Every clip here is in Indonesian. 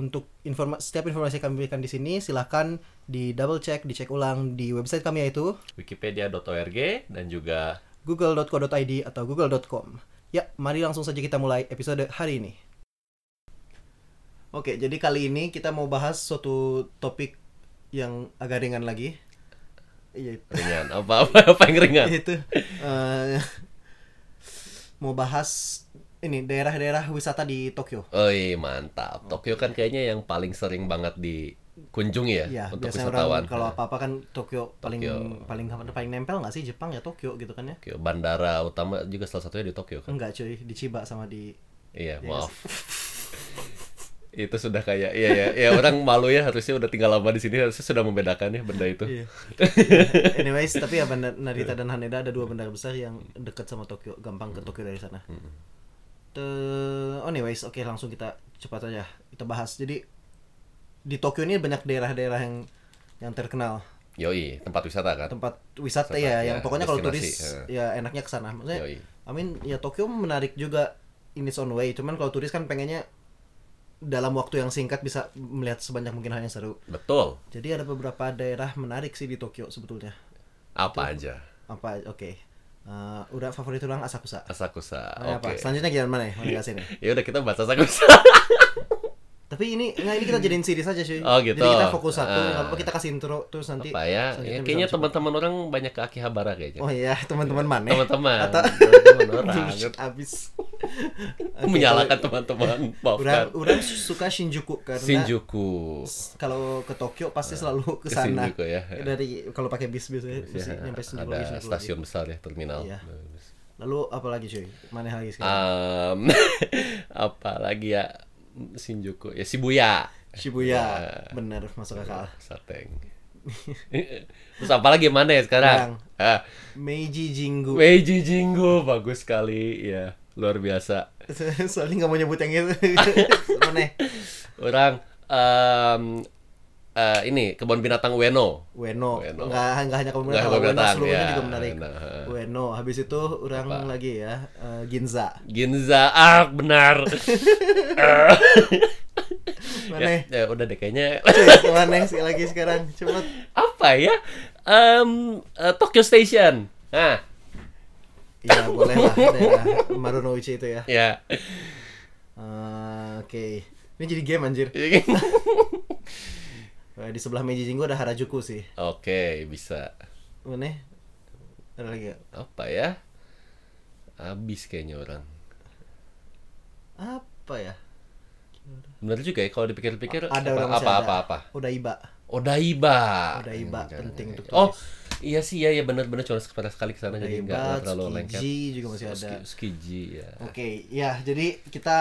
untuk informa setiap informasi yang kami berikan di sini silahkan di double check, dicek ulang di website kami yaitu Wikipedia.org dan juga google.co.id atau google.com. Ya, mari langsung saja kita mulai episode hari ini. Oke, jadi kali ini kita mau bahas suatu topik yang agak ringan lagi. Iya, ringan. Apa apa, apa yang ringan? itu. eh, mau bahas ini daerah-daerah wisata di Tokyo. Oi, mantap. Tokyo kan kayaknya yang paling sering banget dikunjungi ya, Ya, untuk biasanya wisatawan. orang kalau apa-apa kan Tokyo paling Tokyo. paling paling nempel nggak sih Jepang ya Tokyo gitu kan ya? Tokyo, bandara utama juga salah satunya di Tokyo kan. Enggak cuy, di Chiba sama di Iya, Hmm. Iya, maaf. itu sudah kayak iya ya, ya orang malu ya harusnya udah tinggal lama di sini harusnya sudah membedakan ya benda itu. Iya. Anyways, tapi ya bandar Narita dan Haneda ada dua bandara besar yang dekat sama Tokyo, gampang ke Tokyo dari sana. Te- anyways, oke langsung kita cepat aja kita bahas. Jadi di Tokyo ini banyak daerah-daerah yang yang terkenal Yoi, tempat wisata kan. tempat wisata Wisata, ya, ya, yang pokoknya kalau turis destinasi, ya enaknya ke sana. Maksudnya, Yoi. I mean ya Tokyo menarik juga in its own way. Cuman kalau turis kan pengennya dalam waktu yang singkat bisa melihat sebanyak mungkin hal yang seru. Betul. Jadi ada beberapa daerah menarik sih di Tokyo sebetulnya. Apa aja? apa oke Eh, udah favorit orang asakusa Asakusa. Mana apa Ah, Oke. selanjutnya gimana mana ya Mana kasih nih Ya udah kita bahas Asakusa. tapi ini nggak ini kita jadiin series aja cuy Oh, gitu. jadi kita fokus satu Ah. nggak apa kita kasih intro terus nanti apa selanjutnya ya? ya bisa kayaknya langsung. teman-teman orang banyak ke Akihabara kayaknya. oh iya teman-teman mana Teman-teman. atau Teman-teman orang. abis Oh, Aku menyalahkan teman-teman. Maafkan. orang orang suka Shinjuku karena Shinjuku. Ah, s- kalau ke Tokyo pasti selalu ke sana Shinjuku ya. dari kalau pakai bis biasanya mesti Ya, nyampe Shinjuku lagi, ada Shinjuku lagi. stasiun besar ya terminal. Iya. Bagus. lalu apa lagi cuy mana lagi sekarang Um, apa lagi ya Shinjuku ya Shibuya. Eh, Shibuya bener masuk akal Sateng. Terus apa lagi mana ya sekarang? Ah, Meiji Jingu Meiji Jingu bagus sekali ya. Luar biasa. Soalnya nggak mau nyebut yang itu. Mana? Orang em, eh, ini kebun binatang Ueno. Ueno. Ueno. Nggak nggak hanya Nggak kemudian hanya kalau Ueno kemenatan, seluruhnya ya, juga menarik. Ueno, ha. Ueno. Habis itu orang Apa? lagi ya eh, Ginza. Ginza ah benar. Mana? ya, ya, udah deh kayaknya Cuy, Mana sih lagi sekarang? Cepet. apa ya? Em, eh, Tokyo Station. Nah, Iya boleh lah. daerah Marunouchi itu ya. ya. Eh, Oke. Ini jadi game anjir. Iya, Eh, Di sebelah Meiji Jingu ada Harajuku sih. Oke, bisa. Mana? Ada lagi nggak? Apa ya? Abis kayaknya orang. Apa ya? Benar juga ya kalau dipikir-pikir Ada apa, orang apa, masih ada. apa apa Odaiba. Odaiba. Odaiba, Jangan, penting jangan. untuk Oh, iya sih ya, ya benar-benar cuma sekali sekali ke sana jadi nggak nggak Odaiba, terlalu lengket. Tsukiji juga masih ada. Ski- Skiji ya. Oke, ya jadi kita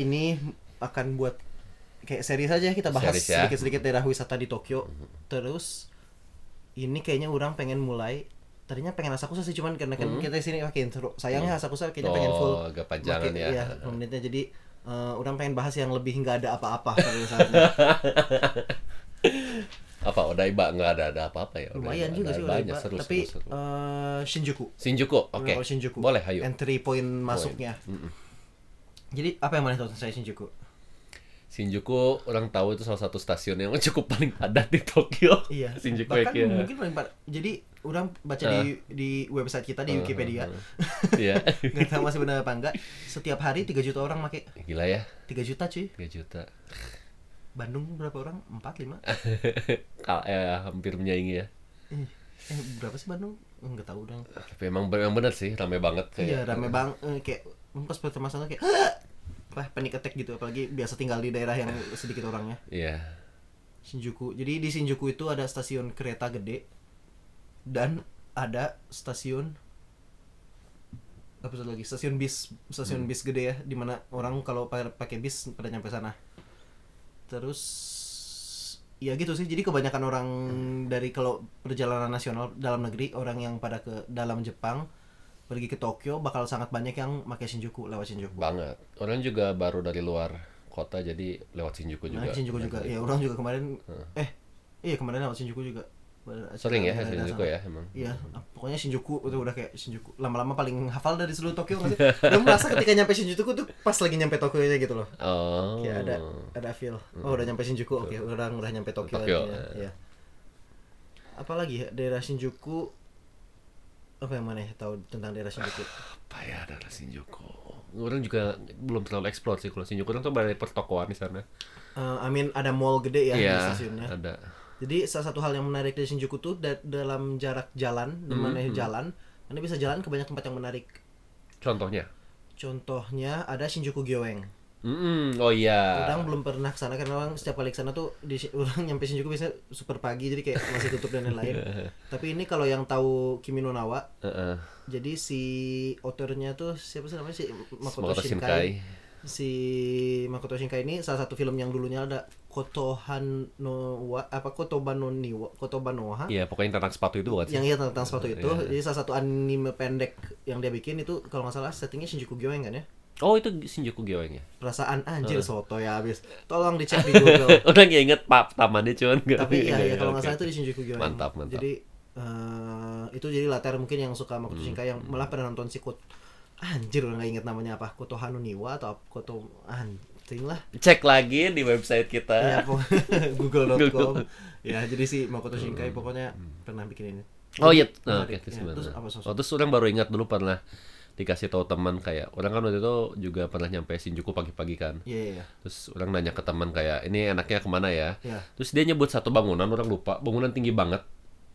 ini akan buat kayak seri saja kita bahas Series ya. Mm-hmm. sedikit-sedikit daerah wisata di Tokyo. Terus ini kayaknya orang pengen mulai tadinya pengen Asakusa sih cuman karena kan kita di sini pakai intro. Sayangnya Asakusa kayaknya pengen full. Mm-hmm. Oh, agak panjangan pakai- ya. iya, dua menitnya jadi eh, orang pengen bahas yang lebih nggak ada apa-apa pada saatnya. Apa Odaiba nggak ada ada apa-apa ya? Odaiba. Lumayan juga Ada sih banyak Odaiba. seru Tapi seru, seru. eh, Shinjuku. Shinjuku, oke. Kalau Shinjuku. Boleh, ayo. Entry point masuknya. Jadi apa yang mana tahu saya Shinjuku? Shinjuku orang tahu itu salah satu stasiun yang cukup paling padat di Tokyo. Iya. Shinjuku Bahkan Eki, ya. Eh. mungkin paling par- Jadi orang baca di di website kita di Wikipedia. Iya. Nggak tahu masih benar apa enggak. Setiap hari 3 juta orang pakai Gila ya, 3 juta cuy. 3 juta. Bandung berapa orang? 4 5. Eh. Kal eh, hampir menyaingi ya. Eh, eh, berapa sih Bandung? Enggak tahu dong. Tapi emang emang benar sih, ramai banget kayak. gitu. Iya, rame bang eh, kayak pas pertama sana kayak Wah, panic attack gitu apalagi biasa tinggal di daerah yang sedikit orangnya. Iya. Shinjuku. Jadi di Shinjuku itu ada stasiun kereta gede dan ada stasiun apa satu lagi stasiun bis stasiun bis gede ya dimana orang kalau pa- pakai bis pada nyampe sana terus ya gitu sih jadi kebanyakan orang dari kalau perjalanan nasional dalam negeri orang yang pada ke dalam Jepang pergi ke Tokyo bakal sangat banyak yang pakai Shinjuku lewat Shinjuku banget. Orang juga baru dari luar kota jadi lewat Shinjuku juga. Iya. Nah, Shinjuku juga ya orang juga kemarin eh iya kemarin lewat Shinjuku juga Pada acara Sering ya daerah Shinjuku sana. ya emang. Iya, pokoknya Shinjuku itu udah kayak Shinjuku. Lama-lama paling hafal dari seluruh Tokyo nggak sih? Lu merasa ketika nyampe Shinjuku tuh pas lagi nyampe Tokyo aja gitu loh. Oh. Hmm. Kayak ada ada feel. Oh, udah nyampe Shinjuku. Oke, orang udah nyampe Tokyo. Tokyo, artinya. eh. Iya. Apalagi ya, daerah Shinjuku apa yang mana ya tahu tentang daerah Shinjuku? Apa ya daerah Shinjuku? Orang juga belum terlalu explore sih kalau Shinjuku orang tuh banyak pertokoan di sana. Eh, I mean ada mall gede ya di Iya, stasiunnya. ada. Jadi salah satu hal yang menarik dari Shinjuku tuh da- dalam jarak jalan, di mana jalan, Anda bisa jalan ke banyak tempat yang menarik. Contohnya. Contohnya ada Shinjuku Gyoeng. Mm-mm, oh iya. Orang belum pernah kesana karena orang setiap kali kesana tuh di orang nyampe Shinjuku biasanya super pagi jadi kayak masih tutup dan lain-lain. Tapi ini kalau yang tahu Kimi no Nawa, Heeh. jadi si autornya tuh siapa sih namanya si Makoto Makoto Shinkai. Shinkai. Si Makoto Shinkai ini salah satu film yang dulunya ada Kotohan no wa, apa Kotoban no Niwa, Kotoban no wa. Iya, pokoknya tentang sepatu itu bukan sih? Yang iya tentang sepatu itu, Iya. jadi salah satu anime pendek yang dia bikin itu kalau nggak salah settingnya Shinjuku Gyoen kan ya? Oh, itu Shinjuku Gyoeng ya. Perasaan anjir soto ya abis. Tolong dicek di Google. Orang ya inget Pak Tamannya cuman nggak- tapi iya, iya kalau nggak oke. salah itu di Shinjuku Gyoen Mantap, mantap. jadi eh, itu jadi latar mungkin yang suka Makoto Hmm, Shinkai yang malah pernah nonton si Kot anjir udah nggak inget namanya apa Koto Hanuniwa atau apa, Koto anjing lah Cek lagi di website kita. ya pokok- Eh? Google. Hmm, google.com ya jadi si Makoto Shinkai pokoknya pernah bikin ini Oh iya, nah, Menarik. oke, terus Ya, gimana? terus apa sosok? Oh, terus orang baru ingat dulu pernah dikasih tahu teman kayak orang kan waktu itu juga pernah nyampe Shinjuku pagi-pagi kan. iya iya iya. Terus orang nanya ke teman kayak ini enaknya kemana ya? Iya. Terus dia nyebut satu bangunan orang lupa bangunan tinggi banget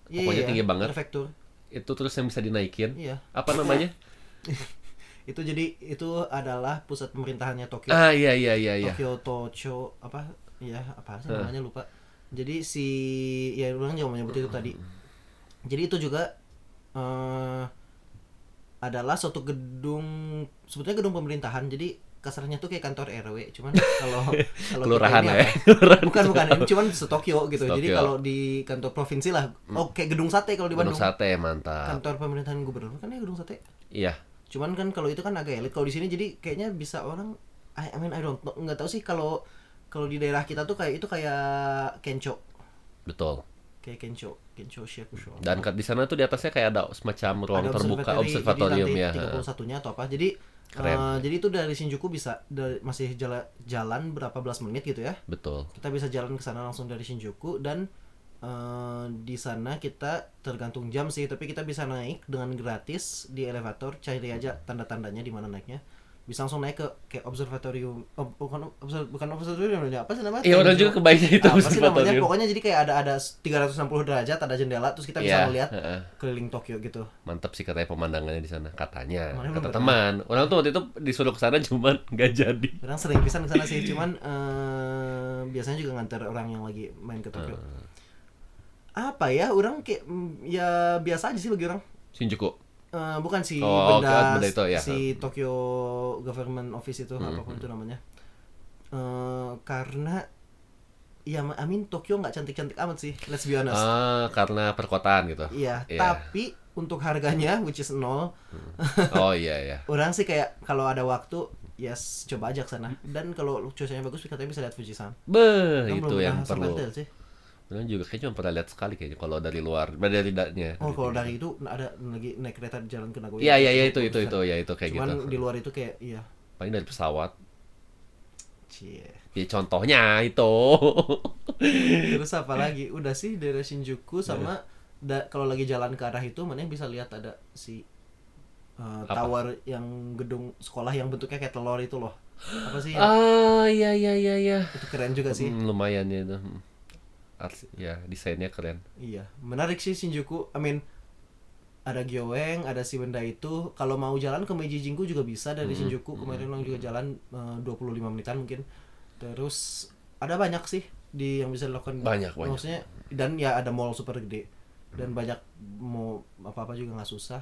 Iya, Pokoknya iya, tinggi banget. prefektur itu terus yang bisa dinaikin Iya. apa namanya? itu jadi itu adalah pusat pemerintahannya Tokyo ah iya iya iya iya. Ah. Tokyo Tocho apa ya apa sih namanya lupa jadi si ya orang juga mau nyebut itu tadi jadi itu juga eh adalah suatu gedung sebetulnya gedung pemerintahan jadi kasarnya tuh kayak kantor RW cuman kalau kalau kita Kelurahan ini ya. apa? Kelurahan. bukan bukan ini cuman se Tokyo gitu jadi Se-Tokyo. kalau di kantor provinsi lah oh kayak gedung sate kalau di Bandung Bandung Hmm. Kan. sate mantap. kantor pemerintahan gubernur kan ya gedung sate Iya. cuman kan kalau itu kan agak elit kalau di sini jadi kayaknya bisa orang I, I mean I don't know nggak tahu sih kalau kalau di daerah kita tuh kayak itu kayak kenco Betul. kayak kenco kenco shakusho Dan ke- di sana tuh di atasnya kayak ada semacam ruang terbuka observatory. observatorium Jadi ya. nanti 31-nya atau apa jadi Keren. eh, jadi itu dari Shinjuku bisa dari, masih jala, jalan berapa belas menit gitu ya Betul. kita bisa jalan ke sana langsung dari Shinjuku dan eh, di sana kita tergantung jam sih tapi kita bisa naik dengan gratis di elevator cari aja tanda-tandanya di mana naiknya bisa langsung naik ke kayak observatorium oh, bukan obser- bukan observatorium ya, apa sih namanya Ah, Iya, orang juga kebayangnya itu Apa sih namanya? observatorium. pokoknya jadi kayak ada ada 360 derajat ada jendela terus kita bisa Iya, melihat heeh. keliling Tokyo gitu Mantap sih katanya pemandangannya di sana katanya. Kemarin kata belum teman. Orang tuh waktu itu disuruh ke sana cuman nggak jadi. Orang sering pisan ke sana sih, cuman eh, biasanya juga nganter orang yang lagi main ke Tokyo. Eh. Apa ya, orang kayak mm, ya biasa aja sih bagi orang. Shinjuku. Eh, bukan si Oh, oke, benda, benda itu, ya. Mm-hmm. si Tokyo Government Office itu apapun itu namanya. Eh, karena ya I mean Tokyo nggak cantik-cantik amat sih, let's be honest. Ah, karena perkotaan gitu. Iya, Iya. tapi untuk harganya which is nol, Oh iya iya. orang sih kayak kalau ada waktu yes coba aja ke sana. Dan kalau cuacanya bagus katanya bisa lihat Fujisan. Beh, Orang Kan itu belum yang pernah sampai perlu. detail sih. Orang juga kayaknya cuma pernah lihat sekali kayaknya kalau dari luar, dari tidaknya. Oh, kalau dari itu ada lagi naik kereta di jalan ke Nagoya. Iya iya iya itu itu itu ya itu kayak Cuman gitu. di luar itu kayak iya. Paling dari pesawat. Cie. Ya contohnya itu. Terus apa lagi? Udah sih daerah Iya. Shinjuku sama da- kalau lagi jalan ke arah itu mana yang bisa lihat ada si uh, Apa? tower yang gedung sekolah yang bentuknya kayak telur itu loh. Apa sih? ah iya iya iya iya. Itu keren juga sih. Hmm, lumayan ya itu. Hmm. Ars- ya desainnya keren. Iya, menarik sih Shinjuku. I mean ada Gyoeng, ada si benda itu. Kalau mau jalan ke Meiji Jinggu juga bisa dari Hmm, Shinjuku. Kemarin orang juga jalan eh, 25 menitan mungkin. Terus ada banyak sih di yang bisa dilakukan. Banyak, banyak. Maksudnya dan ya ada mall super gede dan banyak mau apa-apa juga nggak susah.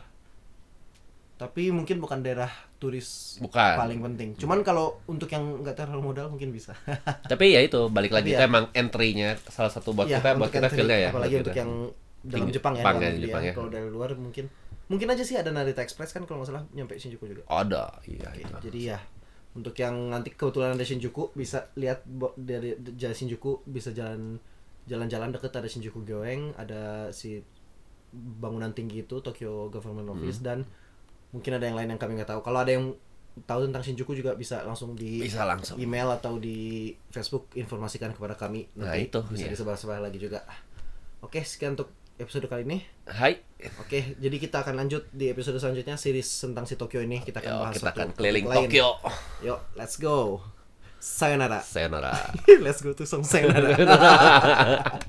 Tapi mungkin bukan daerah turis Bukan. paling penting. Cuman kalau untuk yang nggak terlalu modal mungkin bisa. Tapi ya itu balik Tapi lagi itu ya. emang entry-nya salah satu buat Iya, kita buat untuk kita entry, feel-nya ya. Apalagi buat untuk kita. yang dalam Tinggi- Jepang ya. Jepang dalam ya, negeri Jepang ya. Kalau dari luar mungkin mungkin aja sih ada Narita Express kan kalau nggak salah nyampe Shinjuku juga. ada iya Oke, itu. jadi ya untuk yang nanti kebetulan ada Shinjuku bisa lihat bo- dari d- jalan Shinjuku bisa jalan jalan-jalan deket ada Shinjuku Goeng, ada si bangunan tinggi itu Tokyo Government Hmm. Office dan mungkin ada yang lain yang kami nggak tahu. Kalau ada yang tahu tentang Shinjuku juga bisa langsung di Bisa langsung. email atau di Facebook informasikan kepada kami. Nah, itu, bisa iya. disebar-sebar lagi juga. Oke, sekian untuk episode kali ini. Hai. Oke, jadi kita akan lanjut di episode selanjutnya series tentang si Tokyo ini kita akan Yo, bahas kita satu akan topik keliling lain. Tokyo. Yuk, let's go. Sayonara. Sayonara. let's go to song sayonara.